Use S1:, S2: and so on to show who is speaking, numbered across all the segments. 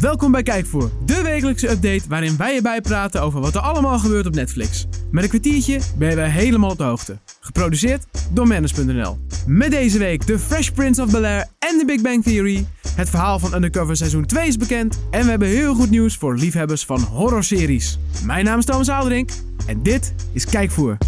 S1: Welkom bij Kijkvoer, de wekelijkse update waarin wij je bijpraten over wat er allemaal gebeurt op Netflix. Met een kwartiertje ben je weer helemaal op de hoogte. Geproduceerd door Manus.nl. Met deze week The Fresh Prince of Bel-Air en The Big Bang Theory. Het verhaal van Undercover seizoen 2 is bekend. En we hebben heel goed nieuws voor liefhebbers van horrorseries. Mijn naam is Thomas Aalderink en dit is Kijkvoer.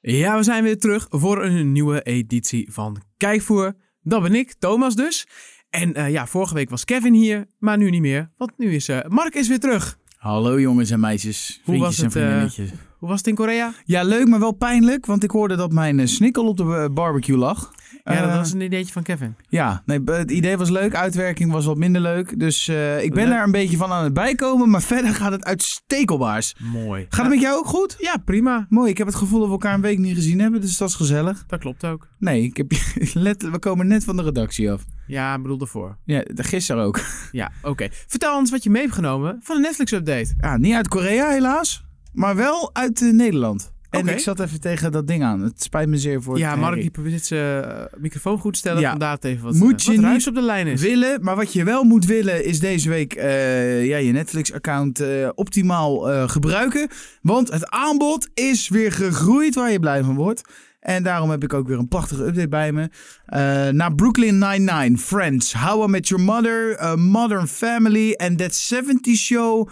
S1: Ja, we zijn weer terug voor een nieuwe editie van Kijkvoer. Dat ben ik, Thomas dus. En eh, ja, vorige week was Kevin hier, maar nu niet meer. Want nu is eh, Mark is weer terug.
S2: Hallo jongens en meisjes, vriendjes
S1: was het,
S2: en
S1: eh,
S2: vriendinnetjes.
S1: Hoe was het in Korea?
S2: Ja, leuk, maar wel pijnlijk, want ik hoorde dat mijn eh, snikkel op de eh, barbecue lag.
S1: Ja, dat
S2: Eh,
S1: was een ideetje van Kevin.
S2: Ja, nee, b- het idee was leuk, uitwerking was wat minder leuk. Dus eh, ik ben
S1: Leuk.
S2: daar een beetje van aan het bijkomen, maar verder gaat het uitstekelbaars.
S1: Mooi.
S2: Gaat het met jou ook goed?
S1: Ja, prima.
S2: Mooi, ik heb het gevoel dat we elkaar een week niet gezien hebben, dus dat is gezellig.
S1: Dat klopt ook.
S2: Nee, ik heb, je- let, we komen net van de redactie af.
S1: Ja, ik bedoel daarvoor.
S2: Ja, de- gisteren ook.
S1: Ja, oké. Vertel ons wat je mee hebt genomen van de Netflix-update.
S2: Ja, niet uit Korea helaas, maar wel uit eh, Nederland. En
S1: Oké.
S2: ik zat even tegen dat ding aan. Het spijt me zeer voor
S1: Ja,
S2: het
S1: Mark
S2: herrie.
S1: die probeert zijn eh, microfoon goed te stellen.
S2: Ja.
S1: Vandaar even wat,
S2: Moet
S1: eh,
S2: je
S1: wat
S2: niet
S1: ruis op de lijn is.
S2: willen. Maar wat je wel moet willen is deze week eh, ja, je Netflix-account eh, optimaal eh, gebruiken. Want het aanbod is weer gegroeid waar je blij van wordt. En daarom heb ik ook weer een prachtige update bij me. Eh, naar Brooklyn Nine-Nine, Friends, How I Met Your Mother, eh, Modern Family en That 70 Show...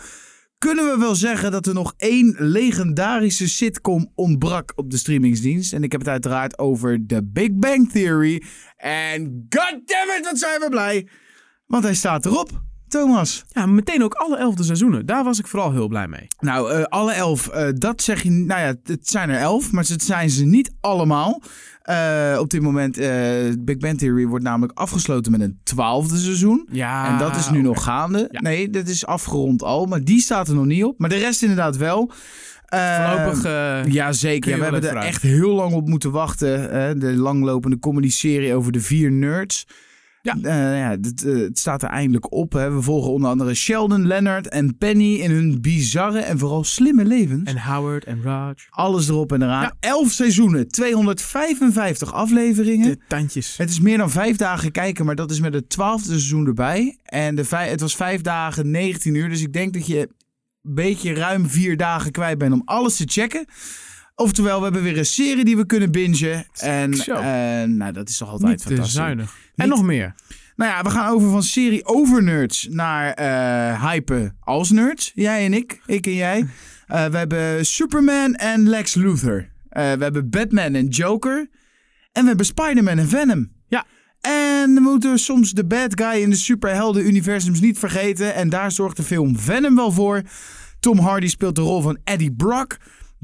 S2: kunnen we wel zeggen dat er nog één legendarische sitcom ontbrak op de streamingsdienst. En ik heb het uiteraard over The Big Bang Theory. En goddammit, wat zijn we blij. Want hij staat erop, Thomas.
S1: Ja, meteen ook alle elfde seizoenen. Daar was ik vooral heel blij mee.
S2: Nou, eh, alle elf, eh, dat zeg je... Nou ja, het zijn er elf, maar het zijn ze niet allemaal. Eh, op dit moment, eh Big Bang Theory wordt namelijk afgesloten met een twaalfde seizoen.
S1: Ja.
S2: En dat is
S1: Ah,
S2: nu
S1: oké.
S2: nog gaande.
S1: Ja.
S2: Nee, dat is afgerond al. Maar die staat er nog niet op. Maar de rest inderdaad wel. Eh,
S1: Voorlopig... eh,
S2: ja, zeker.
S1: kun je
S2: Ja, we
S1: wel
S2: hebben er
S1: even
S2: echt heel lang op moeten wachten. Hè? De langlopende comedy-serie over de vier nerds.
S1: Ja.
S2: Eh, ja, dit, eh, het staat er eindelijk op. Hè? We volgen onder andere Sheldon, Leonard en Penny in hun bizarre en vooral slimme levens.
S1: En Howard en Raj.
S2: Alles erop en eraan. Elf seizoenen, 255 afleveringen.
S1: De tandjes.
S2: Het is meer dan vijf dagen kijken, maar dat is met het twaalfde seizoen erbij. En de vij- het was vijf dagen, 19 uur. Dus ik denk dat je een beetje ruim vier dagen kwijt bent om alles te checken. Oftewel, we hebben weer een serie die we kunnen bingen. En
S1: Zo.
S2: eh, nou, dat is toch altijd
S1: Niet te
S2: fantastisch.
S1: zuinig. En
S2: Niet-
S1: nog meer.
S2: Nou ja, we gaan over van serie over nerds naar eh hypen als nerds. Jij en ik, ik en jij. Eh, we hebben Superman en Lex Luthor. Eh, we hebben Batman en Joker. En we hebben Spider-Man en Venom.
S1: Ja.
S2: En we moeten soms de bad guy in de superhelden-universums niet vergeten. En daar zorgt de film Venom wel voor. Tom Hardy speelt de rol van Eddie Brock.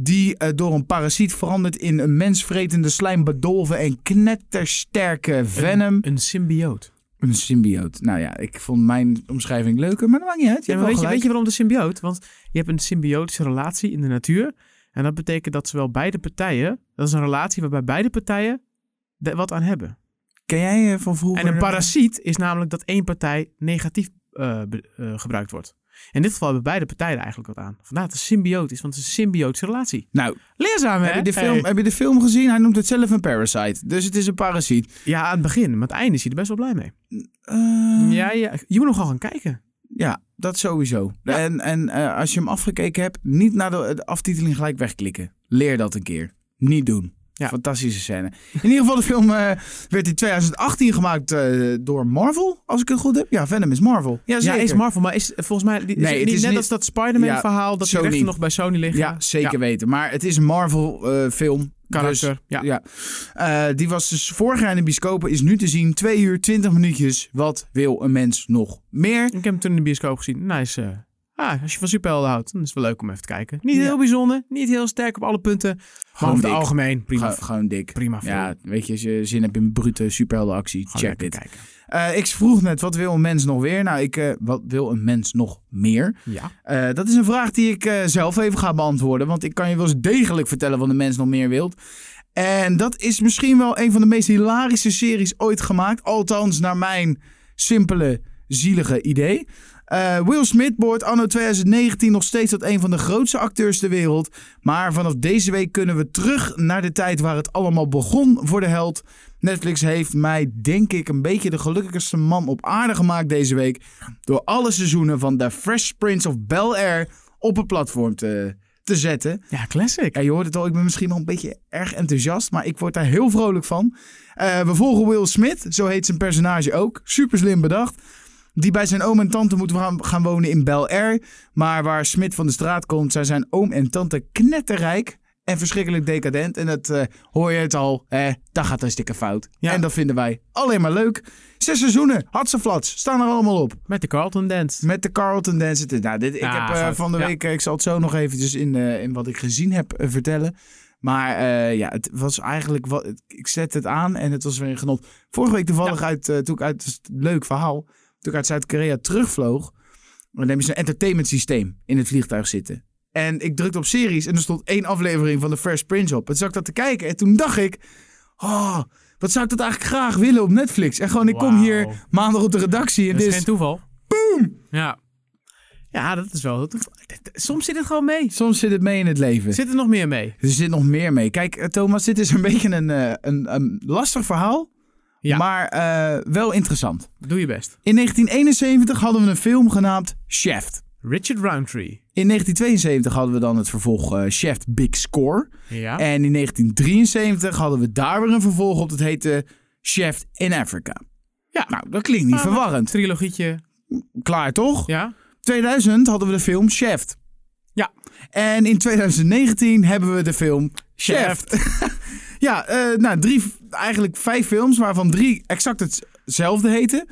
S2: Die eh, door een parasiet verandert in een mensvretende, slijmbedolven en knettersterke Venom.
S1: Een symbioot.
S2: Een symbioot. Nou ja, ik vond mijn omschrijving leuker, maar dat maakt niet uit.
S1: Ja,
S2: Je hebt
S1: maar
S2: wel
S1: weet, je, weet
S2: gelijk.
S1: je waarom de symbioot? Want je hebt een symbiotische relatie in de natuur. En dat betekent dat zowel beide partijen... Dat is een relatie waarbij beide partijen er wat aan hebben.
S2: Ken jij eh, van vroeger?
S1: En een parasiet is namelijk dat één partij negatief eh, be- eh, gebruikt wordt. In dit geval hebben beide partijen er eigenlijk wat aan. Vandaar dat het symbioot is, want het is een symbiotische relatie.
S2: Nou,
S1: Leerzaam, hè?
S2: heb je, de
S1: Hey.
S2: film, heb je de film gezien? Hij noemt het zelf een parasite. Dus het is een parasiet.
S1: Ja, aan het begin. Maar aan het einde is hij er best wel blij mee.
S2: Eh,
S1: Ja, ja. Je moet nogal gaan kijken.
S2: ja, dat sowieso. En, en eh, als je hem afgekeken hebt, niet naar de, de aftiteling gelijk wegklikken. Leer dat een keer. Niet doen.
S1: Ja.
S2: Fantastische scène. In ieder geval, de film eh, werd in 2018 gemaakt eh, door Marvel, als ik het goed heb. Ja, Venom is Marvel. Ja,
S1: Ja,
S2: zeker.
S1: is Marvel, maar is volgens mij die- is
S2: Nee,
S1: het
S2: het
S1: niet
S2: is
S1: net
S2: niet-
S1: als dat Spider-Man
S2: Ja,
S1: verhaal dat die
S2: Sony.
S1: rechten nog bij Sony liggen?
S2: Ja, zeker weten. Maar het is een Marvel-film.
S1: Karakter, ja.
S2: dus ja. Eh, die was dus vorig jaar in de bioscopen, is nu te zien. 2 uur, 20 minuutjes. Wat wil een mens nog meer?
S1: Ik heb hem toen in de bioscoop gezien. Nice. eh, ah, als je van superhelden houdt, dan is het wel leuk om even te kijken. Niet
S2: Ja.
S1: heel bijzonder, niet heel sterk op alle punten. Maar
S2: Gewoon
S1: over het
S2: dik.
S1: algemeen, prima.
S2: Gewoon- gewoon dik.
S1: prima film.
S2: Ja, weet je, als je zin hebt in brute superheldenactie,
S1: Gewoon
S2: check
S1: lekker
S2: dit.
S1: kijken.
S2: Eh, ik vroeg net, wat wil een mens nog weer? Nou, ik, eh, wat wil een mens nog meer?
S1: Ja.
S2: Eh, dat is een vraag die ik eh, zelf even ga beantwoorden. Want ik kan je wel eens degelijk vertellen wat de mens nog meer wilt. En dat is misschien wel een van de meest hilarische series ooit gemaakt. Althans, naar mijn simpele, zielige idee. Eh, Eh, Will Smith behoort anno 2019 nog steeds tot een van de grootste acteurs ter wereld. Maar vanaf deze week kunnen we terug naar de tijd waar het allemaal begon voor de held. Netflix heeft mij, denk ik, een beetje de gelukkigste man op aarde gemaakt deze week. Door alle seizoenen van The Fresh Prince of Bel Air op het platform te, te zetten.
S1: Ja, classic.
S2: Ja, je hoort het al, ik ben misschien wel een beetje erg enthousiast, maar ik word daar heel vrolijk van. Eh, we volgen Will Smith, zo heet zijn personage ook. Super slim bedacht. Die bij zijn oom en tante moet wa- gaan wonen in Bel Air. Maar waar Smith van de straat komt, zijn zijn oom en tante knetterrijk en verschrikkelijk decadent. En dat eh, hoor je het al, eh, dat gaat een stikke fout.
S1: Ja.
S2: En dat vinden wij alleen maar leuk. Zes seizoenen, hatseflats, staan er allemaal op.
S1: Met de Carlton Dance.
S2: Met de Carlton Dance. Het is- Nou, dit, ik
S1: Ja,
S2: heb eh,
S1: goed.
S2: van de
S1: Ah, Ja.
S2: week, eh, ik zal het zo nog eventjes in, eh, in wat ik gezien heb eh, vertellen. Maar eh, ja, het was eigenlijk, wat, ik zet het aan en het was weer een genot. Vorige week toevallig uit, eh, toen ik uit, het is een leuk verhaal, toen ik uit Zuid-Korea terugvloog. Dan heb je zo'n entertainment systeem in het vliegtuig zitten. En ik drukte op series en er stond één aflevering van The Fresh Prince op. En toen zat ik dat te kijken en toen dacht ik, oh, wat zou ik dat eigenlijk graag willen op Netflix? En gewoon, ik kom
S1: Wauw.
S2: hier maandag op de redactie en
S1: Dat
S2: dit
S1: is
S2: is
S1: geen toeval. Boom! Ja. Ja, dat is wel heel toeval. Soms zit het gewoon mee.
S2: Soms zit het mee in het leven.
S1: Zit er nog meer mee?
S2: Er zit nog meer mee. Kijk, eh, Thomas, dit is een beetje een, eh, een, een lastig verhaal,
S1: Ja.
S2: maar eh, wel interessant.
S1: Doe je best.
S2: In 1971 hadden we een film genaamd Shaft.
S1: Richard Roundtree.
S2: In 1972 hadden we dan het vervolg eh Shaft Big Score.
S1: Ja.
S2: En in 1973 hadden we daar weer een vervolg op. Dat heette Shaft in Africa.
S1: Ja.
S2: Nou, dat klinkt niet
S1: Ah,
S2: verwarrend.
S1: Trilogietje.
S2: Klaar toch?
S1: Ja.
S2: 2000 hadden we de film Shaft.
S1: Ja.
S2: En in 2019 hebben we de film Shaft. ja, eh, nou, drie, eigenlijk vijf films, waarvan drie exact hetzelfde heten.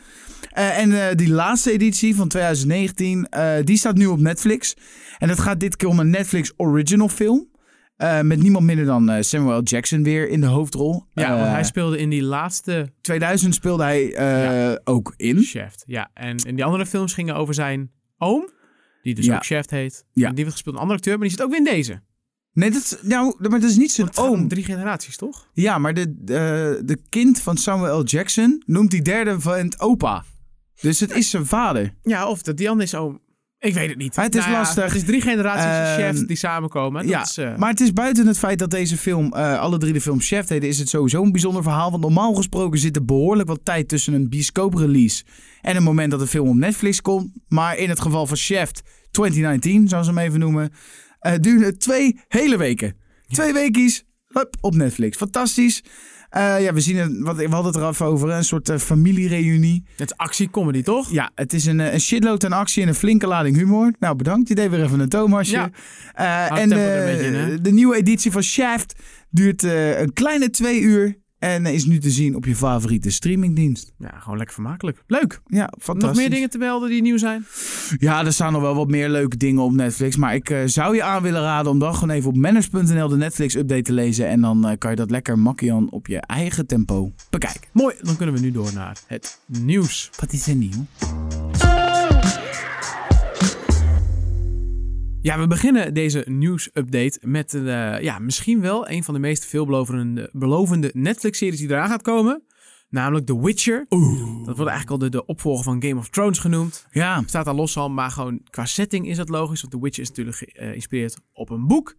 S2: Eh, en eh, die laatste editie van 2019, eh, die staat nu op Netflix. En het gaat dit keer om een Netflix original film. Eh, met niemand minder dan eh, Samuel L. Jackson weer in de hoofdrol.
S1: Ja, want
S2: Eh,
S1: hij speelde in die laatste
S2: 2000 speelde hij eh, ook in.
S1: Shaft. Ja, en, en die andere films gingen over zijn oom, die dus
S2: Ja.
S1: ook Shaft heet.
S2: Ja.
S1: En die werd gespeeld door een andere acteur, maar die zit ook weer in deze.
S2: Nee, dat, is- nou, maar dat is niet zijn
S1: Het gaat om
S2: oom.
S1: drie generaties, toch?
S2: Ja, maar de, de, de kind van Samuel L. Jackson noemt die derde van het opa. Dus het is zijn vader.
S1: Ja, of dat die andere is oom. Ik weet het niet. Nou
S2: Maar het is
S1: ja,
S2: lastig.
S1: het is drie generaties dus
S2: Ehm,
S1: Shaft die samenkomen. Dat
S2: ja,
S1: is, eh,
S2: Maar het is buiten het feit dat deze film eh, alle drie de films Chef deden, is het sowieso een bijzonder verhaal. Want normaal gesproken zit er behoorlijk wat tijd tussen een bioscoop-release en het moment dat de film op Netflix komt. Maar in het geval van Chef 2019, zoals ze hem even noemen, eh duurde het twee hele weken. Twee weekies hup, op Netflix. Fantastisch. Eh, ja, we, zien het, wat- we hadden het eraf over, een soort eh, familiereunie.
S1: het is actie-comedy, toch?
S2: Ja, het is een, eh, een shitload aan actie en een flinke lading humor. Nou, bedankt. Je deed weer even een Thomasje.
S1: Ja.
S2: Eh,
S1: Houdt
S2: en
S1: tempo er een
S2: eh,
S1: beetje in, hè?
S2: de nieuwe editie van Shaft duurt eh, een kleine twee uur. En is nu te zien op je favoriete streamingdienst.
S1: Ja, gewoon lekker vermakelijk.
S2: Leuk. Ja, fantastisch.
S1: Nog meer dingen te melden die nieuw zijn?
S2: Ja, er staan nog wel wat meer leuke dingen op Netflix. Maar ik eh, zou je aan willen raden om dan gewoon even op manners.nl de Netflix-update te lezen. En dan eh, kan je dat lekker makkian op je eigen tempo bekijken.
S1: Mooi, dan kunnen we nu door naar het nieuws.
S2: Wat is er nieuw?
S1: Ja, we beginnen deze nieuwsupdate met eh, ja, misschien wel een van de meest veelbelovende belovende Netflix-series die eraan gaat komen. Namelijk The Witcher. Dat wordt eigenlijk al de, de opvolger van Game of Thrones genoemd.
S2: Ja,
S1: Staat daar los al, maar gewoon qua setting is dat logisch. Want The Witcher is natuurlijk ge- eh, geïnspireerd op een boek.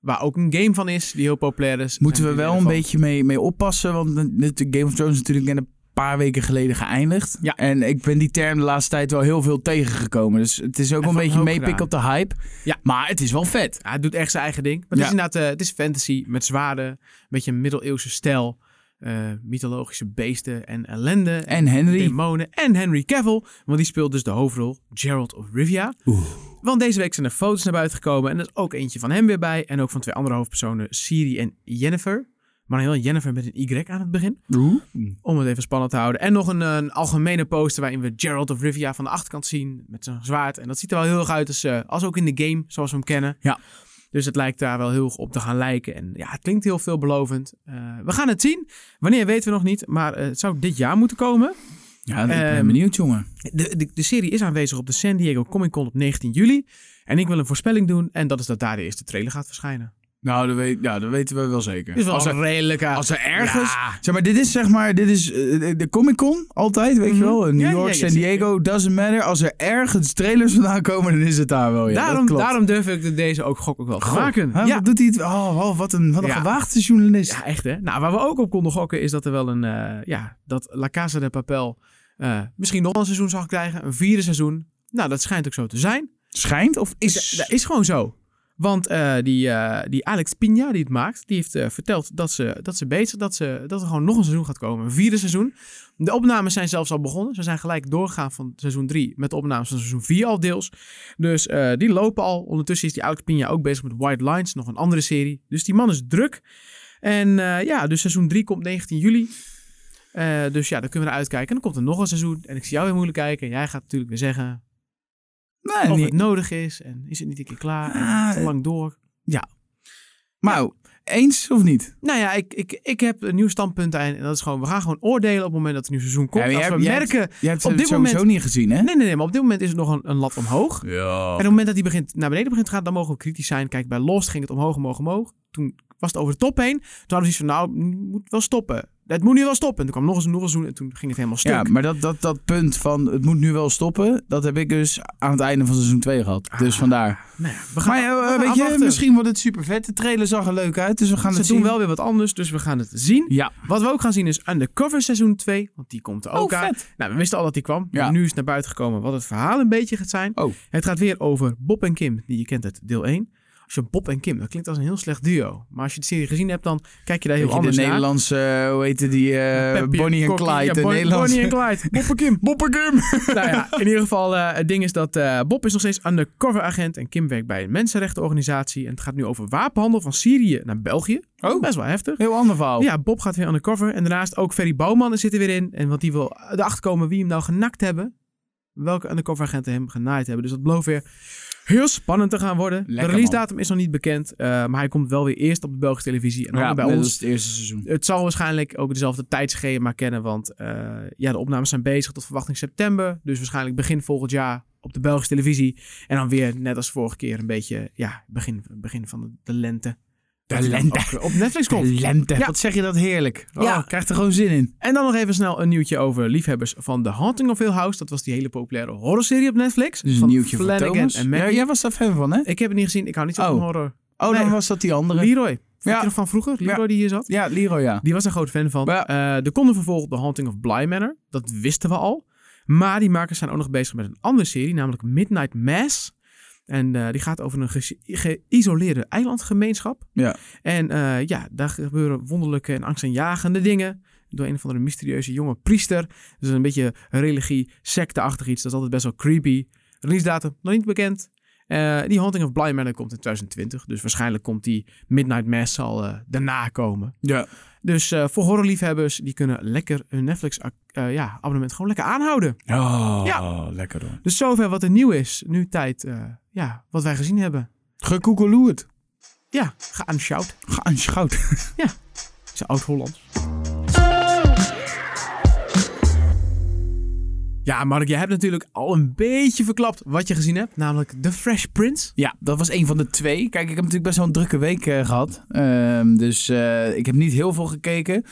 S1: Waar ook een game van is, die heel populair is.
S2: Moeten we
S1: En
S2: wel een
S1: van-
S2: beetje mee, mee oppassen, want de- de Game of Thrones is natuurlijk net een paar weken geleden geëindigd.
S1: Ja.
S2: En ik ben die term de laatste tijd wel heel veel tegengekomen. Dus het is ook
S1: En
S2: een
S1: van
S2: beetje
S1: Hoogdra.
S2: meepikken op de hype.
S1: Ja.
S2: Maar het is wel vet.
S1: Ja, het doet echt zijn eigen ding. Maar het
S2: Ja.
S1: is inderdaad, eh, het is fantasy met zwaarden, een beetje een middeleeuwse stijl, eh, mythologische beesten en ellende. En
S2: En Henry.
S1: demonen en Henry Cavill, want die speelt dus de hoofdrol Gerald of Rivia.
S2: Oeh.
S1: Want deze week zijn er foto's naar buiten gekomen en er is ook eentje van hem weer bij en ook van twee andere hoofdpersonen, Siri en Jennifer. Maar dan heel Jennifer met een Y aan het begin, om het even spannend te houden. En nog een, eh, een algemene poster waarin we Gerald of Rivia van de achterkant zien met zijn zwaard. En dat ziet er wel heel erg uit als, eh, als ook in de game, zoals we hem kennen.
S2: Ja.
S1: Dus het lijkt daar wel heel erg op te gaan lijken. En ja, het klinkt heel veelbelovend. Eh, we gaan het zien. Wanneer weten we nog niet, maar eh, het zou dit jaar moeten komen.
S2: Ja, ik ben
S1: Ehm,
S2: benieuwd, jongen.
S1: De, de, de serie is aanwezig op de San Diego Comic Con op 19 juli. En ik wil een voorspelling doen. En dat is dat daar de eerste trailer gaat verschijnen.
S2: Nou, dat, weet, ja, dat weten we wel zeker.
S1: Is wel
S2: als, er,
S1: een redelijke... Oh
S2: als er ergens...
S1: Ja.
S2: Zeg maar, dit is zeg maar, dit is eh, de- de Comic Con altijd, weet je
S1: Mhm.
S2: wel. In
S1: Ja, ja,
S2: New York,
S1: ja,
S2: San
S1: zeker.
S2: Diego, doesn't matter. Als er ergens trailers vandaan komen, dan is het daar wel. Ja, dat
S1: daarom,
S2: klopt.
S1: daarom durf ik de- deze ook gok ook wel te
S2: Goh,
S1: maken.
S2: hè,
S1: ja.
S2: Wat doet hij het? Oh, oh, wat een, wat een
S1: Ja.
S2: gewaagde journalist.
S1: ja, echt hè. Nou, waar we ook op konden gokken is dat er wel een... eh, ja, dat La Casa de Papel eh, misschien nog wel een seizoen zal krijgen. Een vierde seizoen. Nou, dat schijnt ook zo te zijn.
S2: Schijnt of
S1: is, dat is gewoon zo. Want eh, die, eh, die Alex Pina die het maakt, die heeft eh, verteld dat ze, dat ze bezig dat ze dat er gewoon nog een seizoen gaat komen. Een vierde seizoen. De opnames zijn zelfs al begonnen. Ze zijn gelijk doorgegaan van seizoen 3 met de opnames van seizoen 4 al deels. Dus eh, die lopen al. Ondertussen is die Alex Pina ook bezig met White Lines, nog een andere serie. Dus die man is druk. En eh, ja, dus seizoen 3 komt 19 juli. Eh, dus ja, daar kunnen we naar uitkijken. En dan komt er nog een seizoen. En ik zie jou weer moeilijk kijken. En jij gaat natuurlijk weer zeggen,
S2: Nee,
S1: of
S2: niet.
S1: het nodig is en is het niet een keer klaar en
S2: Ah,
S1: te lang door.
S2: Maar eens of niet?
S1: Nou ja, ik, ik, ik heb een nieuw standpunt aan en dat is gewoon, we gaan gewoon oordelen op het moment dat het nieuw seizoen komt.
S2: Ja, maar
S1: Als
S2: jij
S1: we
S2: hebt- jij
S1: merken,
S2: Je hebt
S1: Op
S2: het
S1: dit
S2: sowieso
S1: moment-
S2: niet gezien, hè?
S1: nee nee nee, maar op dit moment is er nog een, een lat omhoog. En
S2: Ja.
S1: op het moment dat die begint, naar beneden begint te gaan, dan mogen we kritisch zijn. Kijk, bij Lost ging het omhoog, omhoog, omhoog. Toen was het over de top heen. Toen hadden we zoiets van, nou, het moet wel stoppen. Het moet nu wel stoppen. En toen kwam nog eens een nog een seizoen en toen ging het helemaal stuk.
S2: Ja, maar dat, dat, dat punt van het moet nu wel stoppen, dat heb ik dus aan het einde van seizoen 2 gehad. Dus vandaar.
S1: nou ja, we gaan,
S2: Maar ja, eh, weet je,
S1: afwachten.
S2: misschien wordt het super vet. De trailer zag er leuk uit, dus we gaan
S1: ze
S2: het
S1: doen
S2: zien.
S1: wel weer wat anders, dus we gaan het zien.
S2: Ja.
S1: Wat we ook gaan zien is Undercover seizoen 2, want die komt er ook
S2: Oh,
S1: aan.
S2: vet.
S1: Nou, we wisten al dat die kwam.
S2: Ja.
S1: Maar Nu is naar buiten gekomen wat het verhaal een beetje gaat zijn.
S2: Oh.
S1: Het gaat weer over Bob en Kim, die je kent uit deel 1. Als je Bob en Kim, dat klinkt als een heel slecht duo. Maar als je de serie gezien hebt, dan kijk je daar heel
S2: Weet je, de
S1: anders naar.
S2: Nederlandse, eh, hoe heette die? eh,
S1: Peppy
S2: Bonnie en
S1: Cocky,
S2: Clyde.
S1: ja,
S2: de
S1: Bon-
S2: Nederlandse...
S1: Bonnie en Clyde. Bob en Kim. nou ja, in ieder geval, eh, het ding is dat eh, Bob is nog steeds undercover agent. En Kim werkt bij een mensenrechtenorganisatie. En het gaat nu over wapenhandel van Syrië naar België.
S2: Oh.
S1: Best wel heftig.
S2: Heel ander verhaal.
S1: Ja, Bob gaat weer undercover. En daarnaast ook Ferry Bouwman zit er weer in. En want die wil erachter komen wie hem nou genakt hebben. Welke undercover agenten hem genaaid hebben. Dus dat belooft weer heel spannend te gaan worden.
S2: Lekker,
S1: de release datum is nog niet bekend. eh, maar hij komt wel weer eerst op de Belgische televisie. En dan
S2: Ja,
S1: bij
S2: net
S1: ons.
S2: als het eerste seizoen.
S1: Het zal waarschijnlijk ook dezelfde tijdschema kennen. Want eh, ja, de opnames zijn bezig tot verwachting september. Dus waarschijnlijk begin volgend jaar op de Belgische televisie. En dan weer, net als vorige keer, een beetje ja, begin, begin van de, de lente. Dat die dan
S2: lente.
S1: ook, eh, Op Netflix komt.
S2: Lente.
S1: Ja.
S2: Wat zeg je dat heerlijk. Oh,
S1: Ja.
S2: ik krijg er gewoon zin in.
S1: En dan nog even snel een nieuwtje over liefhebbers van The Haunting of Hill House. Dat was die hele populaire horrorserie op Netflix.
S2: Dus een
S1: van
S2: nieuwtje van
S1: Flanagan
S2: Thomas.
S1: en Mary.
S2: Ja, jij was daar fan van, hè?
S1: Ik heb het niet gezien. Ik hou niet zo
S2: Oh.
S1: van horror.
S2: Oh,
S1: Nee.
S2: dan was dat die andere.
S1: Leroy. Weet
S2: Ja.
S1: je nog van vroeger? Leroy die hier zat?
S2: ja, Leroy, ja.
S1: Die was een groot fan van.
S2: Maar
S1: Eh, er konden vervolgens The Haunting of Bly Manor. Dat wisten we al. Maar die makers zijn ook nog bezig met een andere serie, namelijk Midnight Mass. En eh, die gaat over een ge- geïsoleerde eilandgemeenschap.
S2: Ja.
S1: En eh, ja, daar gebeuren wonderlijke en angstaanjagende dingen. Door een of andere mysterieuze jonge priester. Dus een beetje religie, secteachtig iets. Dat is altijd best wel creepy. Release datum nog niet bekend. Eh, die Haunting of Bly Manor komt in 2020. Dus waarschijnlijk komt die Midnight Mass al eh, daarna komen.
S2: Ja.
S1: Dus eh, voor horrorliefhebbers, die kunnen lekker hun Netflix-abonnement ja, abonnement gewoon lekker aanhouden.
S2: Oh,
S1: Ja.
S2: lekker hoor.
S1: Dus zover wat er nieuw is. Nu tijd, eh, ja, wat wij gezien hebben.
S2: Gekoekeloerd.
S1: Ja, geanshout.
S2: Geanschout.
S1: Is oud-Hollands. Ja, Mark, jij hebt natuurlijk al een beetje verklapt wat je gezien hebt. Namelijk The Fresh Prince.
S2: Ja, dat was een van de twee. Kijk, ik heb natuurlijk best wel een drukke week eh, gehad. Ehm, dus eh, ik heb niet heel veel gekeken.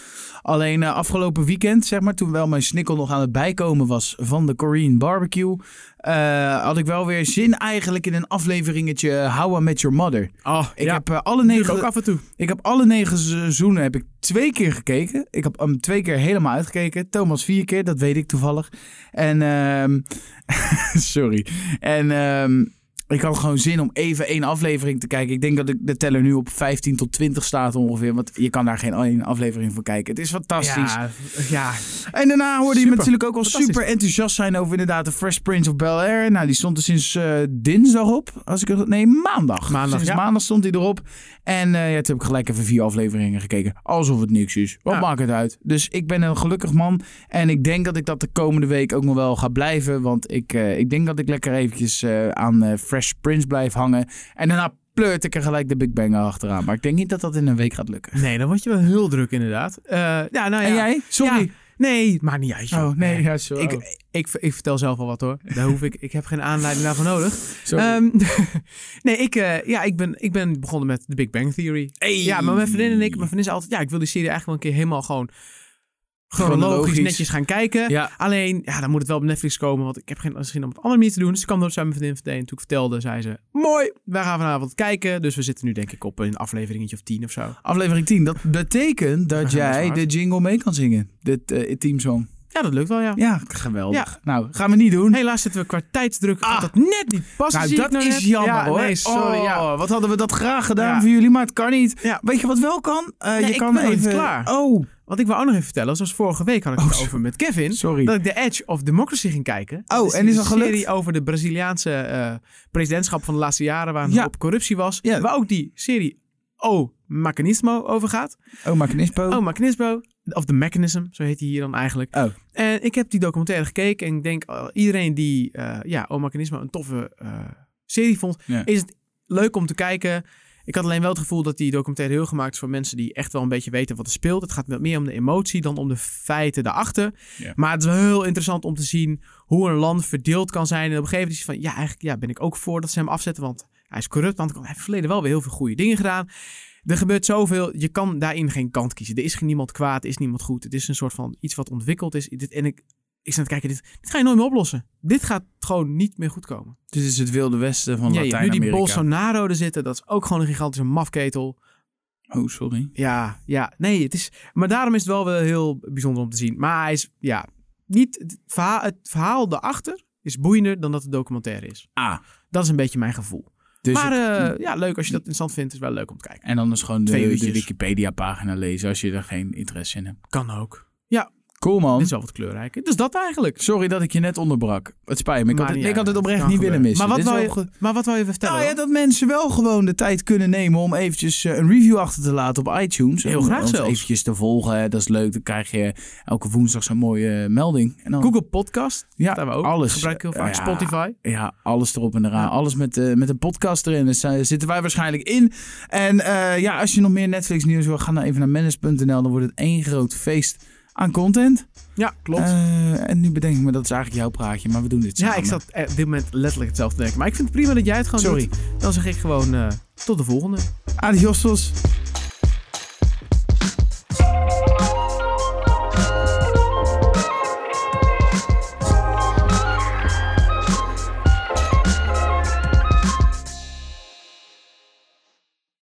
S2: Alleen eh, afgelopen weekend, zeg maar, toen wel mijn snikkel nog aan het bijkomen was van de Korean barbecue, eh, had ik wel weer zin eigenlijk in een afleveringetje eh, How I Met Your Mother.
S1: Oh,
S2: Ik, heb, eh, alle negen,
S1: ook af en toe.
S2: ik heb alle negen seizoenen heb ik twee keer gekeken. Ik heb hem twee keer helemaal uitgekeken. Thomas vier keer, dat weet ik toevallig. En ehm, sorry. En ehm, ik had gewoon zin om even één aflevering te kijken. Ik denk dat ik de teller nu op 15 tot 20 staat ongeveer. Want je kan daar geen één aflevering van kijken. Het is fantastisch.
S1: Ja, ja,
S2: En daarna hoorde je me
S1: Super.
S2: natuurlijk ook al
S1: Fantastisch.
S2: super enthousiast zijn over inderdaad de Fresh Prince of Bel Air. Nou, die stond er sinds eh, dinsdag op. Als ik het, nee, maandag.
S1: Maandag,
S2: sinds
S1: ja.
S2: maandag stond hij erop. En eh, ja, toen heb ik gelijk even vier afleveringen gekeken. Alsof het niks is. Wat
S1: Ja.
S2: maakt het uit? Dus ik ben een gelukkig man. En ik denk dat ik dat de komende week ook nog wel ga blijven. Want ik, eh, ik denk dat ik lekker eventjes eh, aan eh, Fresh Prince blijf hangen. En daarna pleurt ik er gelijk de Big Bang achteraan. Maar ik denk niet dat dat in een week gaat lukken.
S1: nee, dan word je wel heel druk inderdaad. Eh, ja, nou ja.
S2: En jij? Sorry.
S1: Ja. Nee, het maakt niet uit. joh.
S2: Oh, nee, ja, zo.
S1: Ik,
S2: oh,
S1: ik, ik, vertel zelf al wat hoor. Daar hoef ik, ik heb geen aanleiding daarvoor nodig.
S2: sorry.
S1: Ehm, nee, ik, eh, ja, ik, ben, ik ben begonnen met de Big Bang Theory.
S2: Hey.
S1: Ja, maar mijn vriendin en ik, mijn vriendin zei altijd, ja, ik wil die serie eigenlijk wel een keer helemaal gewoon chronologisch,
S2: Chronologisch.
S1: netjes gaan kijken.
S2: Ja.
S1: Alleen, ja, dan moet het wel op Netflix komen, want ik heb geen zin om het andere manier te doen. Dus ik kwam erop, zei mijn vriendin meteen. Toen ik vertelde, zei ze, mooi, wij gaan vanavond kijken. Dus we zitten nu denk ik op een afleveringetje of tien of zo.
S2: Aflevering 10, dat betekent dat
S1: Ah, dat is
S2: jij
S1: waar.
S2: de jingle mee kan zingen. Dit eh, teamsong.
S1: Ja, dat lukt wel, ja.
S2: Ja, geweldig. Nou, gaan we niet doen.
S1: Helaas zitten we qua tijdsdruk,
S2: Ah.
S1: gaat dat net niet passen.
S2: nou,
S1: zie ik
S2: dat
S1: nou
S2: is
S1: net.
S2: jammer
S1: Ja,
S2: hoor.
S1: nee, sorry,
S2: oh,
S1: ja.
S2: Wat hadden we dat graag gedaan
S1: Ja.
S2: voor jullie, maar het kan niet.
S1: Ja.
S2: Weet je wat wel kan? Eh,
S1: Nee,
S2: je
S1: ik
S2: kan
S1: ben nog niet
S2: even.
S1: klaar.
S2: Oh,
S1: Wat ik wou ook nog even vertellen, zoals vorige week had ik
S2: Oh,
S1: het
S2: zo-
S1: over met Kevin.
S2: sorry.
S1: Dat ik The Edge of Democracy ging kijken.
S2: Oh, en is
S1: een
S2: dat gelukt?
S1: serie over de Braziliaanse eh, presidentschap van de laatste jaren... waar
S2: Ja.
S1: op corruptie was.
S2: Ja.
S1: Waar ook die serie O Mechanismo over gaat.
S2: Oh, Macanispo.
S1: O Mechanismo, of The Mechanism, zo heet die hier dan eigenlijk.
S2: Oh.
S1: En ik heb die documentaire gekeken en ik denk... oh, iedereen die eh, ja, O Mechanismo een toffe eh, serie vond...
S2: Ja.
S1: is het leuk om te kijken... Ik had alleen wel het gevoel dat die documentaire heel gemaakt is voor mensen die echt wel een beetje weten wat er speelt. Het gaat met meer om de emotie dan om de feiten daarachter.
S2: Ja.
S1: Maar het is wel heel interessant om te zien hoe een land verdeeld kan zijn. En op een gegeven moment is hij van, ja, eigenlijk ja, ben ik ook voor dat ze hem afzetten, want hij is corrupt. Want hij heeft in het verleden wel weer heel veel goede dingen gedaan. Er gebeurt zoveel, je kan daarin geen kant kiezen. Er is geen niemand kwaad, er is niemand goed. Het is een soort van iets wat ontwikkeld is. Dit, en ik, ik sta te kijken, dit, dit ga je nooit meer oplossen. Dit gaat gewoon niet meer goed komen.
S2: Dit is het wilde westen van
S1: Ja, je hebt nu die
S2: Latijns-Amerika.
S1: Bolsonaro er zitten, dat is ook gewoon een gigantische mafketel.
S2: Oh, sorry.
S1: Ja, ja, nee, het is. Maar daarom is het wel wel heel bijzonder om te zien. Maar hij is, ja, niet. Het verhaal, het verhaal daarachter is boeiender dan dat het documentaire is.
S2: Ah,
S1: Dat is een beetje mijn gevoel.
S2: dus
S1: maar
S2: het-
S1: eh, ja, leuk als je dat interessant vindt, is wel leuk om te kijken.
S2: en dan is gewoon
S1: twee
S2: de, de
S1: uurtjes.
S2: Wikipedia-pagina lezen als je er geen interesse in hebt.
S1: Kan ook.
S2: Cool, man.
S1: Dit is wel wat kleurrijker. Dus dat eigenlijk.
S2: Sorry dat ik je net onderbrak. Het spijt me. Ik, had
S1: Maar
S2: het,
S1: niet
S2: ik had het
S1: uit.
S2: oprecht
S1: Kan
S2: niet willen
S1: gebeuren. Maar wat,
S2: missen. Dit is
S1: wou
S2: wel
S1: je, maar wat wou je even vertellen?
S2: Nou ja,
S1: hoor?
S2: dat mensen wel gewoon de tijd kunnen nemen om eventjes eh, een review achter te laten op iTunes.
S1: Heel
S2: Om
S1: graag
S2: ons
S1: zelfs.
S2: eventjes te volgen, hè. dat is leuk. Dan krijg je elke woensdag zo'n mooie eh, melding. En dan,
S1: Google Podcast.
S2: ja,
S1: dat hebben we ook.
S2: alles.
S1: Gebruik ik heel
S2: Eh,
S1: vaak.
S2: ja,
S1: Spotify.
S2: Ja, alles erop en eraan.
S1: Ja.
S2: Alles met, eh, met een podcast erin. Dus daar zitten wij waarschijnlijk in. En eh, ja, als je nog meer Netflix nieuws wil, ga dan even naar manage.nl. Dan wordt het één groot feest aan content.
S1: Ja, klopt.
S2: Eh, en nu bedenk ik me, dat is eigenlijk jouw praatje, maar we doen dit
S1: ja,
S2: samen.
S1: ik zat eh, op dit moment letterlijk hetzelfde te denken. Maar ik vind het prima dat jij het gewoon
S2: Sorry.
S1: doet. Dan zeg ik gewoon eh, tot de volgende.
S2: Adios.